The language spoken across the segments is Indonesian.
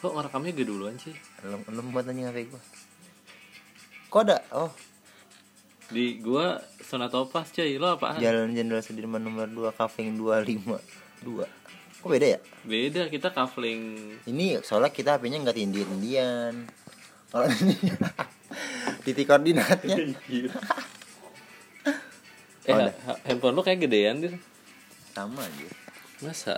Kok ngerekamnya gue duluan sih? Lu, lu buat nanya HP gua. Kok ada? Oh, Di gua Sonatopas coy, lo apaan? Jalan Jenderal Sudirman nomor 2 Kaving 252. Kok beda ya? Beda, kita kafling Ini soalnya kita HP-nya nggak tindian-tindian. Kalau ini titik koordinatnya. Eh, Oh, udah. ha- handphone lo kayak gedean dir sama aja. Masa?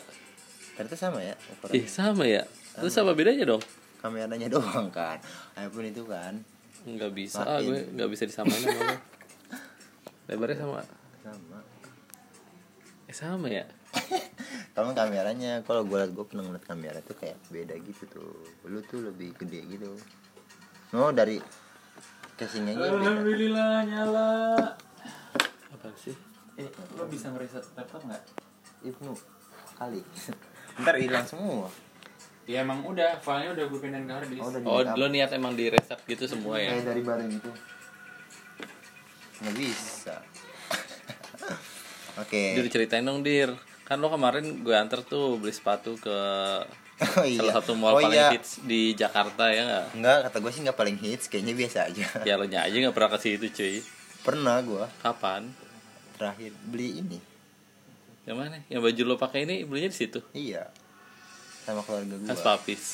Ternyata sama ya Ih, ukuran sama ya? Terus apa bedanya dong? kameranya doang kan. iPhone itu kan Nggak bisa, ah, Makin. gue nggak bisa disamain sama lo Lebarnya sama sama. Eh, sama ya? Kalau kameranya kalau gue liat gue pernah ngeliat kamera tuh kayak beda gitu tuh. Lu tuh lebih gede gitu. No dari casingnya aja beda. Alhamdulillah nyala. Apaan sih? Eh, lo bisa ngereset laptop nggak? Ibnu kali. Ntar hilang semua. Ya emang udah, filenya udah gue pindahin ke harddisk. Oh, udah Oh, di-backup. lo niat emang di reset gitu semua ya? Kayak dari barang itu nggak bisa oke Dir ceritain dong Dir Kan lo kemarin gue anter tuh beli sepatu ke oh iya salah satu mall oh, paling iya. hits di Jakarta ya nggak? nggak kata gue sih nggak paling hits kayaknya biasa aja Ya lo nya aja nggak pernah ke situ cuy pernah gue Kapan? terakhir beli ini Yang mana? Yang baju lo pakai ini belinya di situ iya sama keluarga gue Khas Papis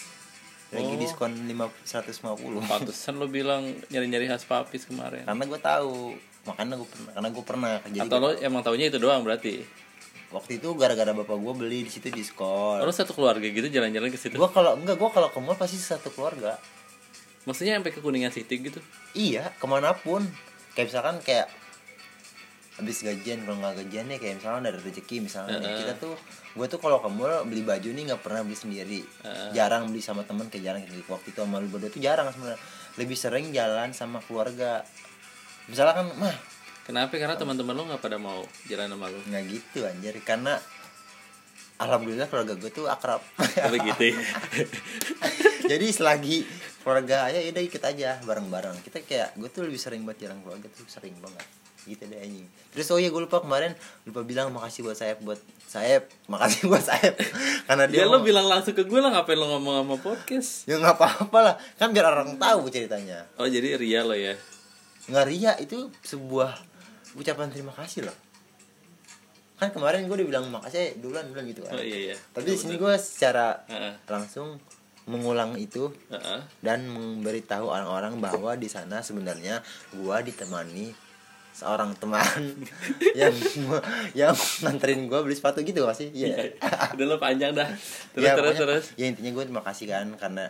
lagi Oh. diskon lima seratus Pantesan lo bilang nyari-nyari khas Papis kemarin karena gue tahu makanya gue pernah karena gue pernah jadi Atau lo emang taunya itu doang berarti? waktu itu gara-gara bapak gue beli di situ diskon Lo satu keluarga gitu jalan-jalan ke situ? gue kalau enggak gue kalau ke mall pasti satu keluarga Maksudnya sampai ke Kuningan City gitu? Iya, kemanapun. Kayak misalkan kayak habis gajian kalau nggak gajian ya kayak misalnya ada rezeki misalnya nih, kita tuh gue tuh kalau ke mall beli baju nih nggak pernah beli sendiri jarang beli sama temen kayak jarang kayak gitu. waktu itu sama lu berdua tuh jarang sebenarnya lebih sering jalan sama keluarga misalnya kan mah Kenapa? Karena teman-teman lo nggak pada mau jalan sama lo nggak gitu anjir karena alhamdulillah keluarga gue tuh akrab Tapi gitu ya jadi selagi keluarga aja yaudah ikut aja bareng-bareng kita kayak gue tuh lebih sering buat jalan keluarga tuh sering banget gitu deh anjing terus oh iya gue lupa kemarin lupa bilang makasih buat Saeb buat Saeb makasih buat Saeb karena Ya dia lo mau- bilang langsung ke gue lah ngapain lo ngomong sama podcast ya nggak apa-apa lah kan biar orang tahu ceritanya Oh jadi Ria lo ya nggak ria itu sebuah ucapan terima kasih loh kan kemarin gue udah bilang makasih duluan duluan gitu Oh kan iya iya tapi di sini gue secara Heeh. langsung mengulang itu Heeh. dan memberitahu orang-orang bahwa di sana sebenarnya gua ditemani seorang teman yang yang nganterin gua beli sepatu gitu gak sih? Iya. Udah lo panjang dah Terus Ya, terus pokoknya- terus Ya intinya gue terima kasih kan karena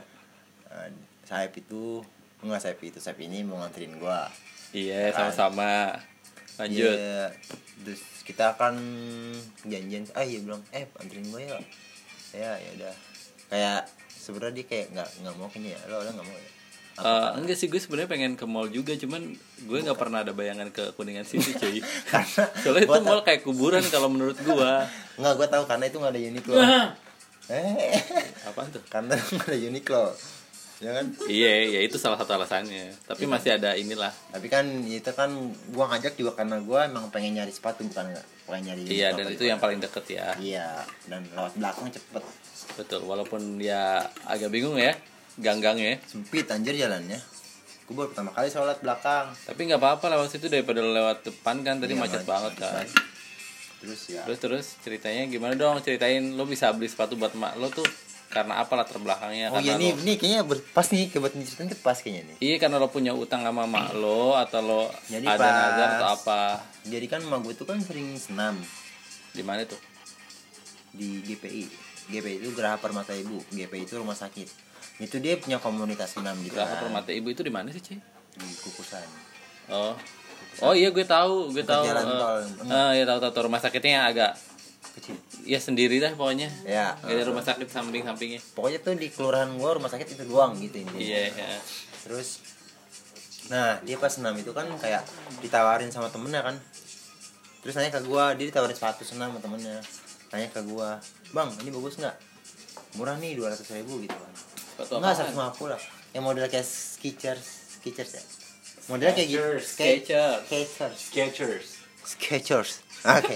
eh, Saeb itu enggak Saeb itu Saeb ini mau nganterin gua. Iya sama-sama Lanjut Iya. terus kita akan janjian ah iya bilang eh anterin gue ya ya ya udah kayak sebenarnya dia kayak nggak nggak mau kayaknya ya lo lo nggak mau ya Eh, enggak sih gue sebenarnya pengen ke mall juga cuman gue nggak pernah ada bayangan ke kuningan city cuy karena soalnya itu gua mall kayak kuburan kalau menurut gue nggak gue tahu karena itu nggak ada Uniqlo Nah. eh apa tuh karena nggak ada Uniqlo ya kan iya ya itu salah satu alasannya Iya. tapi masih ada inilah tapi kan itu kan gue ngajak juga karena gue emang pengen nyari sepatu bukan nggak pengen nyari iya Uniqlo dan apa itu yang paling deket ya iya dan lewat belakang cepet betul walaupun dia agak bingung ya ganggang ya sempit anjir jalannya gue baru pertama kali sholat belakang tapi nggak apa-apa lewat situ daripada lo lewat depan kan tadi Iya, macet macet, banget macet kan banget. terus ya terus terus ceritanya gimana dong ceritain lo bisa beli sepatu buat emak lo tuh karena apa latar belakangnya Oh karena iya nih, lo- nih kayaknya ber- pas nih kebuat diceritain tuh pas kayaknya nih. Iya karena lo punya utang sama mak lo atau lo Jadi ada pas. nazar atau apa Jadi kan emak gue tuh kan sering senam di mana tuh? di GPI. GPI itu Geraha Permata Ibu. GPI itu rumah sakit. Itu dia punya komunitas senam gitu. Geraha kan. Permata Ibu itu di mana sih Ci? di Kukusan. Oh Oh iya gue tahu gue tahu. jalan eh, tol. eh, iya tahu tahu tahu. rumah sakitnya yang agak Kecil. ya sendiri dah pokoknya. Ya. Gak ada rumah sakit samping sampingnya. Pokoknya tuh di kelurahan gua rumah sakit itu doang gitu intinya. Iya. iya. Terus Nah, dia pas senam itu kan kayak ditawarin sama temennya kan. Terus nanya ke gua, dia ditawarin sepatu senam sama temennya. Nanya ke gua, "Bang, ini bagus nggak? Murah nih 200 ribu gitu kan." Sepatu Enggak apaan? 150 lah. Yang model kayak Skechers, Skechers ya. Model kayak gitu. Skechers, Ske- Skechers. Skechers. Skechers. Skechers. Oke.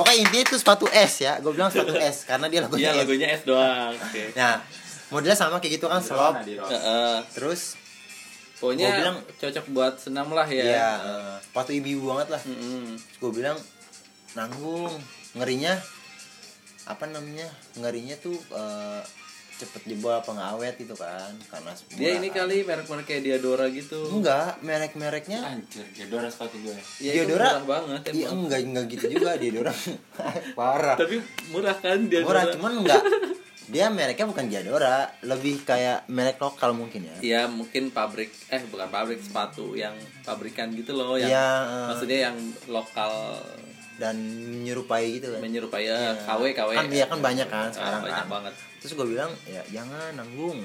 Oke, intinya itu sepatu S ya. Gue bilang sepatu S karena Iya dia logonya S. lagunya S doang. Oke. Eh, Nah, modelnya sama kayak gitu kan Drone, slop Adi Drone. Heeh. terus pokoknya Gua bilang- cocok buat senam lah ya. ya eh, sepatu ibu banget lah Mm-mm. gue bilang nanggung ngerinya apa namanya ngerinya tuh eh, cepet jebol apa nggak awet gitu kan karena Dia ini murahan. kali merek-merek kayak Diadora gitu. enggak merek-mereknya Anjir, Diodora sepatu gue. Ya, itu murah Diodora banget iya Ah, emang. enggak enggak gitu juga Diodora parah Tapi murah kan Diadora. murah cuman enggak dia mereknya bukan Diodora lebih kayak merek lokal mungkin ya Ya mungkin pabrik eh bukan pabrik sepatu yang pabrikan gitu loh yang Iya, eh. maksudnya yang lokal dan menyerupai gitu kan menyerupai ya, KW KW. kan dia kan banyak Ah, kan sekarang banyak kan. banget. terus gue bilang ya jangan nanggung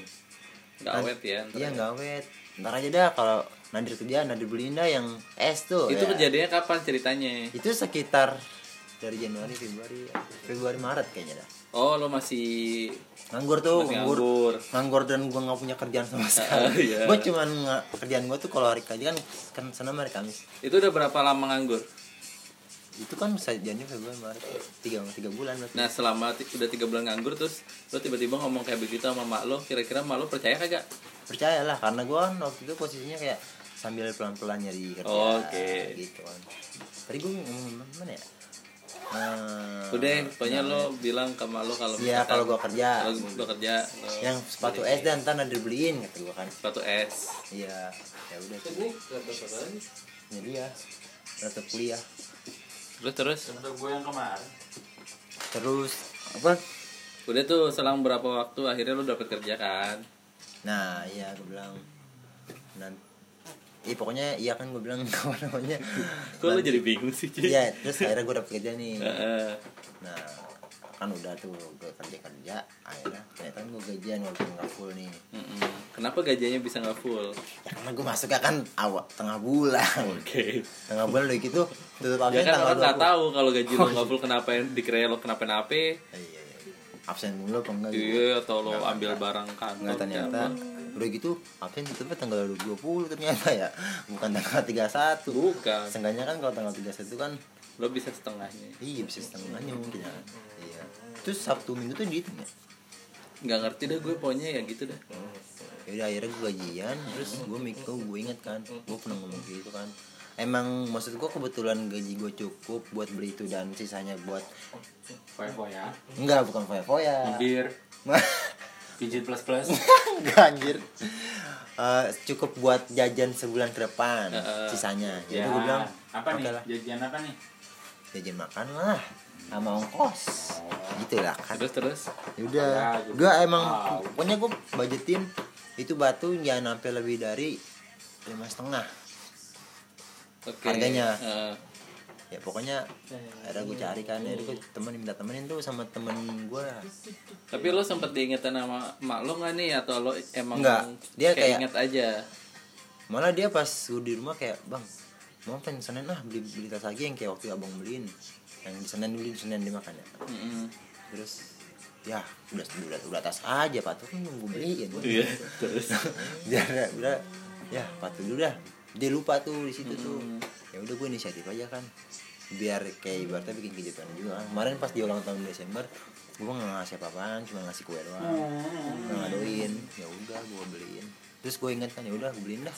Nggak Kan- awet ya. ntar iya ya. nggak awet ntar aja dah kalau Nadir kerja Nadir beliin dah yang es tuh Itu ya. kejadiannya kapan ceritanya? itu sekitar dari Januari Februari Februari Maret kayaknya dah Oh, lo masih nganggur tuh Masih nganggur nganggur. nganggur dan gue nggak punya kerjaan sama sekali iya. gue cuman nggak- kerjaan gue tuh kalau hari kerja kan kan sana hari Kamis itu udah berapa lama nganggur? itu kan bisa Januari Februari Maret tiga tiga bulan berarti Nah selama ti- udah tiga bulan nganggur terus lo tiba-tiba ngomong kayak begitu sama mak lo kira-kira mak lo percaya kagak? percayalah karena gue kan waktu itu posisinya kayak sambil pelan-pelan nyari kerja Oke. gitu kan tadi gue ngomong mana ya Eh, Udah pokoknya lo bilang ke mak lo kalau Iya, misalkan- kalau gua kerja. kalau gua kerja lo yang sepatu es dan ntar nanti beliin kata gue kan sepatu es iya ya udah tuh ini dia rata kuliah terus terus Contoh gue yang kemarin. terus apa udah tuh selang berapa waktu akhirnya lo dapet kerja kan? nah iya gue bilang nanti Iya pokoknya iya kan gue bilang apa namanya Kok lo jadi bingung sih? Ci? Eh, Iya terus akhirnya gue dapet kerja nih Heeh. Nah kan udah tuh gue kerja kerja akhirnya ternyata gue gajian walaupun nggak full nih Mm-mm. Kenapa gajinya bisa nggak full? ya, karena gue masuknya kan awal tengah bulan Oke. tengah bulan udah gitu tutup Ya absen kan tanggal orang nggak 20. tahu kalau gaji lo nggak full kenapa dikira lo kenapa-napa? Iya, iya, iya. absen mulu apa enggak gitu Iya atau lo ambil barang kantor? nggak ternyata apa. udah gitu absen tutupnya tanggal 20 ternyata ya bukan tanggal 31 Bukan. Seenggaknya kan kalau tanggal 31 kan lo bisa setengahnya iya bisa setengahnya mungkin ya iya terus Sabtu Minggu tuh dihitung ya nggak ngerti deh gue pokoknya ya gitu deh Yaudah akhirnya gue gajian Terus gue mikir, gue inget kan Gue pernah ngomong gitu kan Emang maksud gue kebetulan gaji gue cukup buat beli itu dan sisanya buat Foya ya. Enggak bukan foya-foya Bibir, Mah, pijit plus plus. Enggak anjir Eh, Cukup buat jajan sebulan ke depan Heeh. Sisanya Jadi ya. gue bilang apa "Oke nih? lah, Jajan apa nih? Jajan makan lah Sama ongkos Gitu lah kan terus terus Yaudah Ya, gitu. Gue emang Wow. Pokoknya gue budgetin Itu batu jangan sampai lebih dari lima setengah oke eh, Harganya. Heeh. ya pokoknya akhirnya gue cari kan akhirnya gue temenin minta temenin tuh sama temen gue tapi lo sempet diingetan sama mak lo nggak nih atau lo emang Nggak. Dia kayak- inget aja malah dia pas gue di rumah kayak bang mau pengen senen ah beli beli tas lagi yang kayak waktu abang beliin yang di senen beli di senen dimakan ya Mm-mm. terus ya udah udah udah tas aja patuh kan gue beliin iya terus biar udah ya patuh dulu dah dia lupa tuh di situ tuh Hmm. ya udah gue inisiatif aja kan biar kayak ibaratnya bikin kejutan juga kan kemarin pas di ulang tahun Desember gue nggak ngasih apa-apaan cuma ngasih kue doang nggak ngadoin ya udah gue beliin terus gue inget kan ya udah gue beliin dah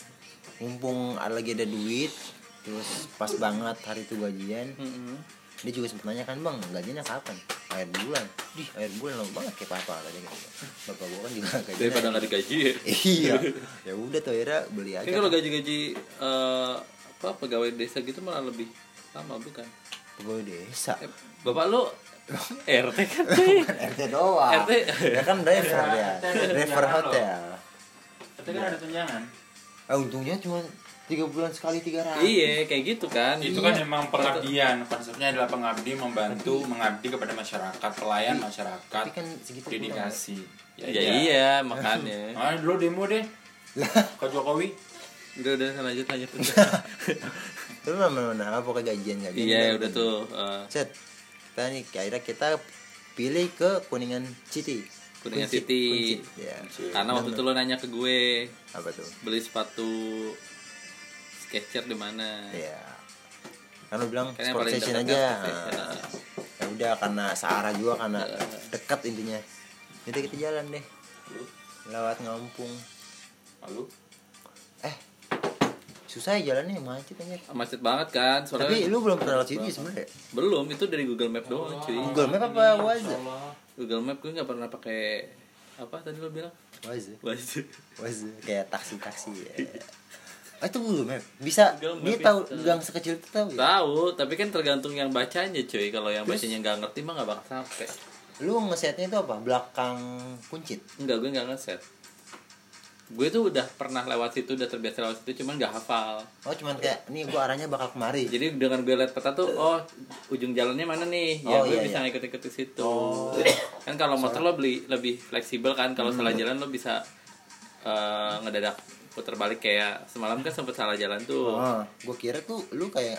mumpung ada lagi ada duit terus pas banget hari itu gajian Mm-mm. dia juga sempet nanya kan bang gajinya kapan akhir bulan di akhir bulan lama banget kayak papa katanya gitu. bapak gue kan juga gajinya daripada nggak digaji ya iya ya udah tuh akhirnya beli aja Kan kalau gaji-gaji eh, apa pegawai desa gitu malah lebih lama bukan pegawai desa Eh, bapak lo RT kan RT doang RT. ya kan driver ya RT ada driver tunjangan hotel Tapi kan ada tunjangan. ah untungnya cuma tiga bulan sekali tiga ratus iya kayak gitu kan Iya. Itu kan emang pengabdian. Konsepnya adalah pengabdi membantu, mengabdi kepada masyarakat, pelayan masyarakat. tapi kan segitu kurang, Dedikasi. ya, iya makanya Ah, dulu demo deh. Ke Jokowi. udah udah lanjut lanjut ya. lu mana mana apa pokoknya gajian gajian iya udah tuh eh, set kita nih akhirnya kita pilih ke kuningan city Kuningan Kuncit, City. Kuncit, ya Karena waktu itu lo nanya ke gue apa tuh beli sepatu Sketcher di mana? ya kan lu bilang Karena yang sport paling session dekat aja Nah, kan sport session, ah. Iya. ya udah karena searah juga karena dekat intinya jadi kita jalan deh lewat ngampung Lalu eh susah ya jalannya macet anjir Macet banget kan soalnya tapi lu belum pernah lewat situ ya sebenarnya belum itu dari Google Map doang cuy. Google Map apa Waze Allah. Google Map gue nggak pernah pakai apa tadi lo bilang? Waze Waze. Waze kayak taksi taksi ya Ah, itu Google Map bisa Iya. Google Map dia tahu bisa. gang sekecil itu tahu ya? Tahu, tapi kan tergantung yang bacanya cuy. Kalau yang bacanya nggak ngerti mah nggak bakal sampai. lu ngesetnya itu apa belakang kuncit Enggak, gue nggak ngeset. Gue tuh udah pernah lewat situ, udah terbiasa lewat situ, cuman nggak hafal. oh cuman kayak nih gua arahnya bakal kemari Jadi dengan gue liat peta tuh, oh ujung jalannya mana nih? Ya Oh, gue iya, bisa iya. Oh. ngikut-ikut ke situ. kan kalau motor lo beli lebih fleksibel kan, kalau Hmm. salah jalan lo bisa eh, ngedadak putar balik kayak semalam kan sempet salah jalan tuh. Oh, gue kira tuh lu kayak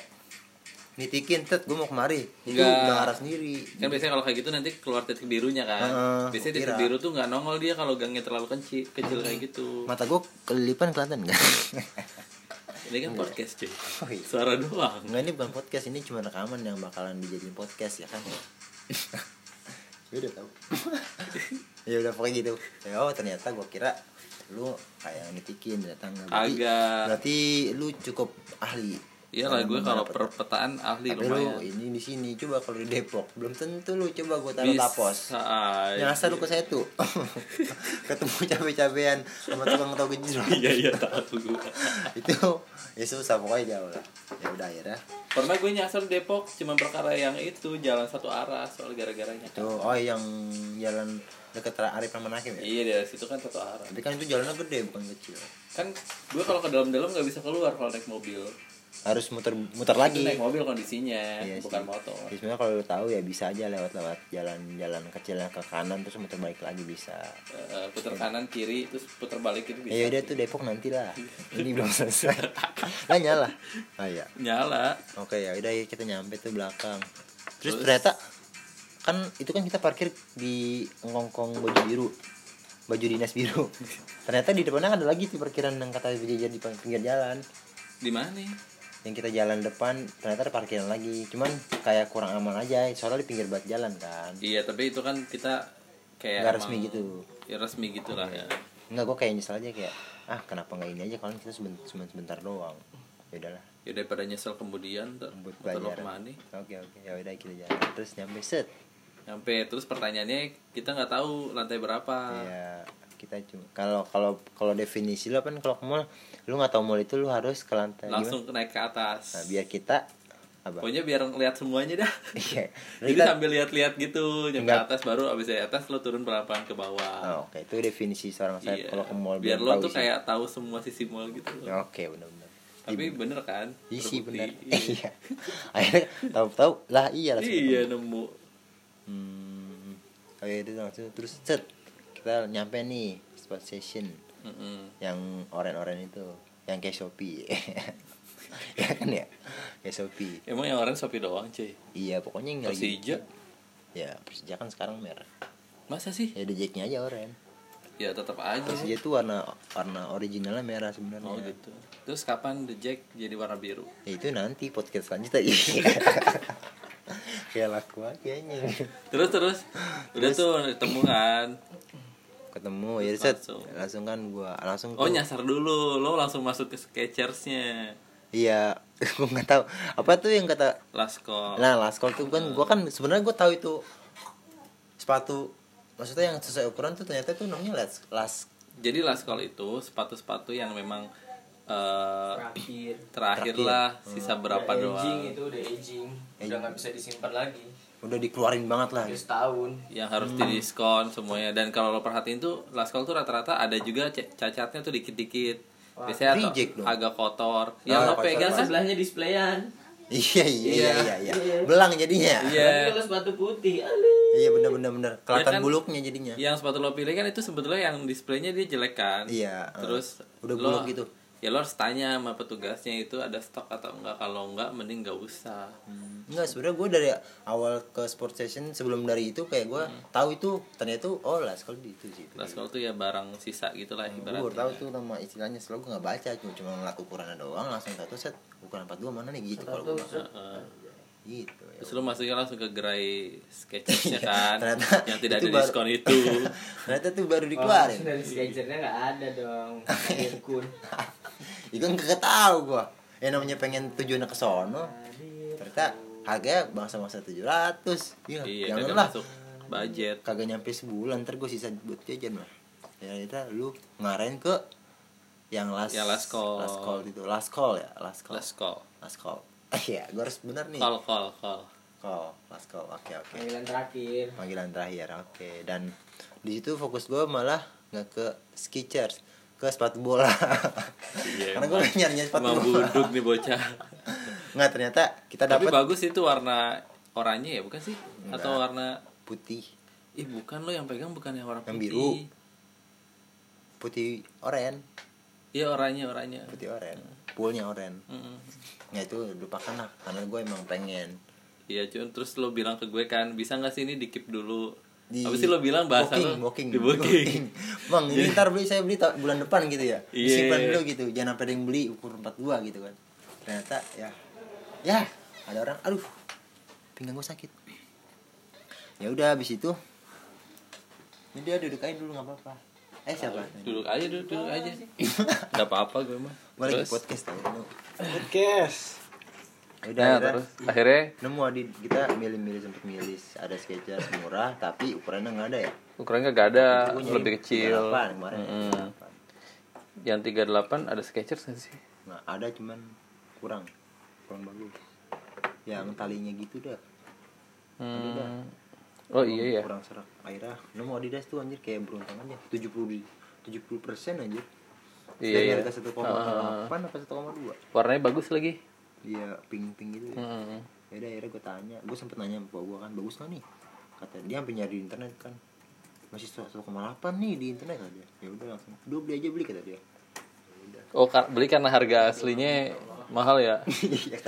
nitikin tet gue mau kemari itu Enggak. nggak arah sendiri Kan biasanya kalau kayak gitu nanti keluar titik birunya kan. Heeh, biasanya gua titik kira. Hmm. biru tuh nggak nongol dia kalau gangnya terlalu kecil, kecil kayak gitu. mata gue kelipan kelihatan nggak Ini kan podcast cuy. Oh, iya. Suara doang. nggak ini bukan podcast ini cuma rekaman yang bakalan dijadiin podcast ya kan ya udah tahu ya udah pokoknya gitu ya oh ternyata gue kira lu kayak nitikin datang berarti, Kagak. berarti lu cukup ahli Iya lah Dalam gue kalau mengenal peta. perpetaan ahli tapi lu lumayan. ini di sini coba kalau di Depok belum tentu lu coba gue taruh tapos Bisa aja. yang asal lu ke tuh ketemu cabe-cabean sama tukang tahu gejrot Iya iya tahu gue. itu ya susah pokoknya jauh lah ya udah akhirnya Pernah gue nyasar Depok cuma perkara yang itu jalan satu arah soal gara-garanya. tuh oh yang jalan deket Ra- Arif Rahman Hakim ya Iya dari situ kan satu arah. tapi kan itu jalannya gede bukan kecil Kan gue kalau ke dalam-dalam nggak bisa keluar kalau naik mobil. harus muter muter Itu lagi naik mobil kondisinya Iya bukan sih. motor. Ya, sebenarnya kalau lu tahu ya bisa aja lewat-lewat jalan-jalan kecilnya ke kanan terus muter balik lagi bisa Eh, putar kanan kiri terus putar balik itu bisa. Iya. ya udah tuh Depok nanti lah ini belum selesai lah nyala ah iya Nyala. Oke ya udah ya kita nyampe tuh belakang. Terus, Terus? ternyata kan itu kan kita parkir di ngongkong baju biru, baju dinas biru. ternyata di depannya ada lagi tuh parkiran yang kata berjajar di pinggir jalan. Di mana? nih? Yang kita jalan depan ternyata ada parkiran lagi. Cuman kayak kurang aman aja soalnya di pinggir banget jalan kan. Iya tapi itu kan kita kayak Nggak emang- resmi gitu. Ya resmi gitu lah ya. Enggak gua kayak nyesel aja kayak ah kenapa nggak ini aja kalau kita seben- cuma sebentar doang. Ya udahlah. Ya daripada nyesel kemudian ter- motor Buat lo pelajaran. kemana? Oke oke ya udah kita jalan terus nyampe set. Sampai terus pertanyaannya kita nggak tahu lantai berapa. Ah. ya kita cuma kalau kalau kalau definisi lo kan kalau ke mall lu nggak tahu mall itu lu harus ke lantai Langsung Oh, iya. naik ke gimana? atas. Nah, biar kita apa Pokoknya biar ngeliat semuanya dah. iya Jadi Jadi kita- sambil lihat-lihat gitu, nyampe Enggak. atas baru abis dari atas lo turun pelan-pelan ke bawah. Oh, oke itu definisi seorang saya Iya. kalau ke mall biar belum lo tahu tuh sih. kayak tahu semua sisi mall gitu. Ya, iya. oke benar-benar Tapi bener kan? isi Terbukti. benar iya akhirnya tahu-tahu lah iya Iya, langsung Iya, nemu. hmm oke itu langsung terus set kita nyampe nih spot session Mm-mm. yang oren-oren itu yang kayak shopee ya kan ya kayak shopee Emang yang orang Shopee doang, cuy. Iya pokoknya yang lagi Persija. Ya Persija kan sekarang merah Masa sih? Ya ada jacknya aja oren Iya. Ya tetap aja. Persija tuh warna warna originalnya merah sebenarnya Oh gitu. Terus kapan The Jack jadi warna biru? Ya itu nanti podcast selanjutnya Kayak laku aja kayaknya Terus terus udah tuh ketemu kan. Ketemu ya set Langsung. Langsung kan gua Langsung Oh tuh- nyasar dulu, lo langsung masuk ke Sketchersnya. Iya Gua gak tau Apa tuh yang kata Lasko. Nah laskol tuh kan Gua kan sebenarnya gua tahu itu Sepatu Maksudnya yang sesuai ukuran tuh ternyata tuh namanya las, las Jadi laskol itu sepatu-sepatu yang memang eh, terakhir terakhir Terakhir. Hmm. Ya, lah sisa berapa Udah aging doang itu udah aging udah nggak bisa disimpan lagi Udah dikeluarin banget lah udah Iya. setahun yang harus Hmm. didiskon semuanya dan kalau lo perhatiin tuh laskol tuh rata-rata ada juga ce- cacatnya tuh dikit-dikit biasanya atau reject dong. Ah, agak kotor yang lo kotor pegang kan sebelahnya displayan Iya iya iya Iya. iya, iya. Belang jadinya Iya. tapi kalau sepatu putih aduh Iya bener bener bener kan? kelihatan buluknya jadinya. yang sepatu lo pilih kan itu sebetulnya yang displaynya dia jelek kan Iya, eh. terus Udah lo- buluk gitu. ya lo harus tanya sama petugasnya itu ada stok atau enggak kalau enggak mending nggak usah Enggak sebenarnya gue dari awal ke sport session sebelum dari itu kayak gue Hmm. tahu itu ternyata tuh oh lah kalau di itu sih. laskol tuh ya barang sisa gitulah Gue Hmm, baru ibaratnya tahu tuh nama istilahnya selalu gue nggak baca cuma cuma ngeliat ukurannya doang langsung satu set ukuran 42 mana nih gitu kalau Eh, gue. Terus, Heeh. gitu ya. Terus lu masuknya langsung ke gerai sketchnya kan Iya, Ternyata Yang tidak itu ada baru- diskon itu ternyata tuh baru Keluar. dikeluarin dari sketchernya nggak ada dong. Irkun. itu kan kagak tahu gua yang namanya pengen tujuannya ke sono ternyata harganya bangsa-bangsa 700 iya, Iya jangan kagak lah masuk budget kagak nyampe sebulan ntar gue sisa buat jajan lah ya kita lu ngarahin ke yang last Ya, last call. last call itu last call ya last call Last call last call ah iya gue harus bener nih Call call call call last call oke oke Panggilan terakhir. panggilan terakhir oke dan di situ fokus gue malah nggak ke sketchers ke sepatu bola Iya, karena gue emang- nyari nyari sepatu Emang bola buduk nih bocah nggak ternyata kita Tapi dapat bagus itu warna oranye ya bukan sih? Atau Enggak. warna putih Ih bukan lo yang pegang bukan yang warna Yang putih biru. putih oren Iya oranye oranye putih oren poolnya oren Mm-mm. ya itu lupakan lah karena gue emang pengen Iya cuman terus lo bilang ke gue kan bisa nggak sih ini di keep dulu di Apa sih lo bilang bahasa booking, lo? booking, Di booking Bang, ini ntar beli saya beli ta- bulan depan gitu ya. Iya. Disimpan dulu gitu, jangan sampai ada yang beli ukur 42 gitu kan. Ternyata ya ya ada orang aduh pinggang gue sakit. Ya udah habis itu ini dia duduk aja dulu nggak apa-apa. Eh siapa? Duduk aja duduk, duduk aja Gak apa-apa gue mah Gue lagi Terus? podcast tau. Udah, Podcast. Nah, udah. terus akhirnya Nemu Adit, kita milih-milih sempet milih ada sketcher murah tapi ukurannya nggak ada ya. ukurannya gak ada Gua nyari lebih kecil 38 kemarin. Mm-mm. yang 38 ada sketchers nggak sih Nah, ada cuman kurang. Kurang bagus. Yang talinya gitu dah. hmm. oh iya ya Kurang serak. Akhirnya nemu Adidas tuh anjir kayak beruntung aja. 70 di 70 persen anjir. Iya, iya. Ah. Dari harga 1,8 apa 1,2. warnanya bagus lagi Iya, pink-pink gitu. Ya. hmm. Yaudah, akhirnya gue tanya. Gue sempet nanya sama bapak gue kan, bagus gak nih? Kata dia sampai nyari di internet kan. Masih 1,8 nih di internet kan dia. Ya udah langsung. Dua beli aja beli kata dia. oh kar- beli karena harga aslinya mahal ya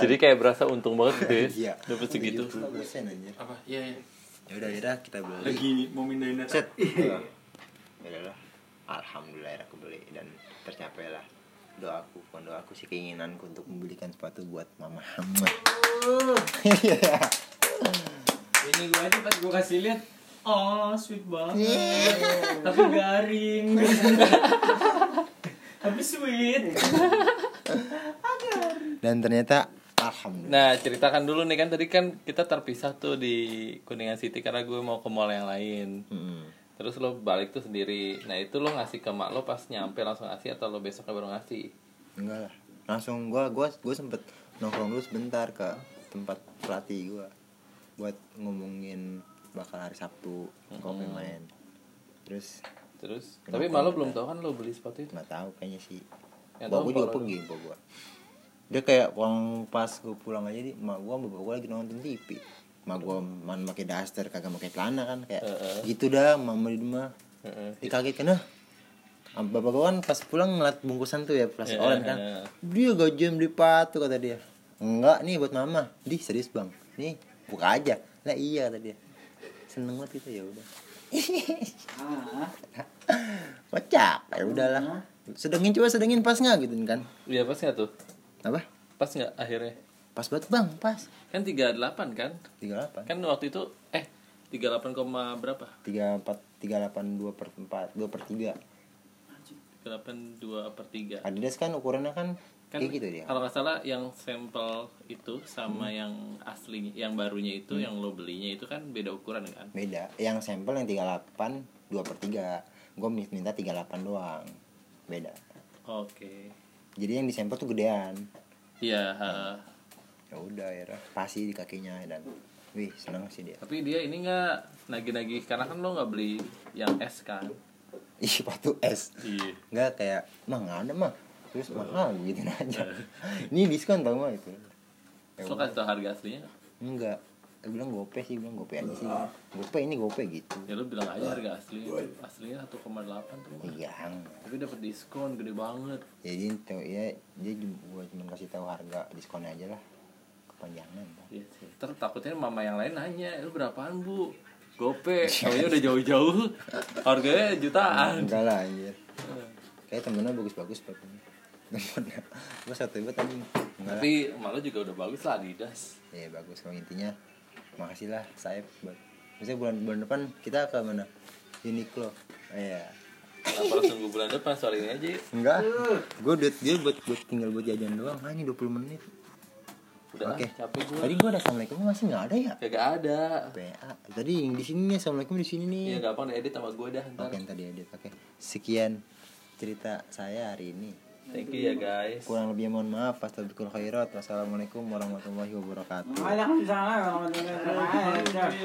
jadi kayak berasa untung banget gitu ya kan? Iya. dapat segitu 70 persen anjir. apa iya iya. Ya udah, akhirnya kita beli. lagi mau mindahin data set ya udahlah alhamdulillah akhirnya aku beli dan tercapailah doaku bukan doaku sih keinginanku untuk membelikan sepatu buat mama Iya. hamba Ini gua aja pas gua kasih lihat. Oh, sweet banget. Tapi garing. Tapi sweet. dan ternyata alhamdulillah nah ceritakan dulu nih kan tadi kan kita terpisah tuh di kuningan city karena gue mau ke mall yang lain Mm-mm. terus lo balik tuh sendiri nah itu lo ngasih ke mak lo pas nyampe langsung ngasih atau lo besoknya baru ngasih enggak lah langsung gua gua gua sempet nongkrong dulu sebentar ke tempat pelatih gua buat ngomongin bakal hari Sabtu kopi main terus terus tapi Kenapa malah belum tahu kan lo beli sepatu itu nggak tahu kayaknya sih Ya, tahu bawa gue juga kalau- pergi bawa gue dia kayak pulang pas gue pulang aja di emak gue sama bapak gue lagi nonton TV emak gue man pakai daster kagak pakai celana kan kayak gitu dah mama di rumah Heeh. dikaget kan ah. Am- bapak gue kan pas pulang ngeliat bungkusan tuh ya plastik Iya, oren kan iya. dia gajian beli patu kata dia enggak nih buat mama di serius bang nih buka aja lah iya kata dia seneng banget gitu ya udah kocak ya udahlah sedengin coba sedengin pas nggak gitu kan Iya pas nggak tuh? apa Pas nggak akhirnya? pas banget bang pas Kan 38 kan? 38 Kan waktu itu eh 38, koma berapa? 34 38 2 per 4 2 per 3 38 2 per 3 Adidas kan ukurannya kan, kan kayak gitu dia Hmm. kalau nggak salah yang sampel itu sama yang aslinya yang barunya itu yang lo belinya itu kan beda ukuran kan beda yang sampel yang 38 2 per 3 gue minta 38 doang beda oke jadi yang di sampel tuh gedean iya ha. ya udah ya pasti di kakinya dan wih seneng sih dia tapi dia ini nggak nagih-nagih karena kan lo nggak beli yang S kan ih sepatu S iya nggak kayak mah nggak ada mah terus mahal gitu aja ini diskon tau mah itu Ya lo kasih tau harga aslinya nggak? enggak dia bilang gope sih bilang gope aja sih gope ini gope gitu ya lo bilang aja harga aslinya aslinya 1,8 tuh iya tapi dapat diskon gede banget jadi itu ya dia gue cuma kasih tahu harga diskonnya aja lah kepanjangan Bang. Iya sih. Ntar takutnya mama yang lain nanya, lu berapaan bu? Gope, namanya udah jauh-jauh, harganya jutaan. enggak lah anjir kayak temennya bagus-bagus sepatunya gue satu ribet anjing Enggak lah. Tapi malah juga udah bagus lah Adidas. ya bagus kalau intinya makasih lah saya buat misalnya bulan bulan depan kita ke mana Uniqlo iya Apa harus nunggu bulan depan soal ini aja yuk. enggak gue duit dia buat buat tinggal buat jajan doang Ah, hanya 20 menit Udah Oke. ah, capek gue. tadi gue ada assalamualaikum masih nggak ada ya Kagak ada. PA tadi yang di sini nih assalamualaikum di sini nih Iya gampang deh edit sama gue dah ntar. oke tadi edit oke sekian cerita saya hari ini Thank you ya guys. kurang lebih mohon maaf Fastabiqul khairat wassalamualaikum warahmatullahi wabarakatuh Waalaikumsalam warahmatullahi wabarakatuh.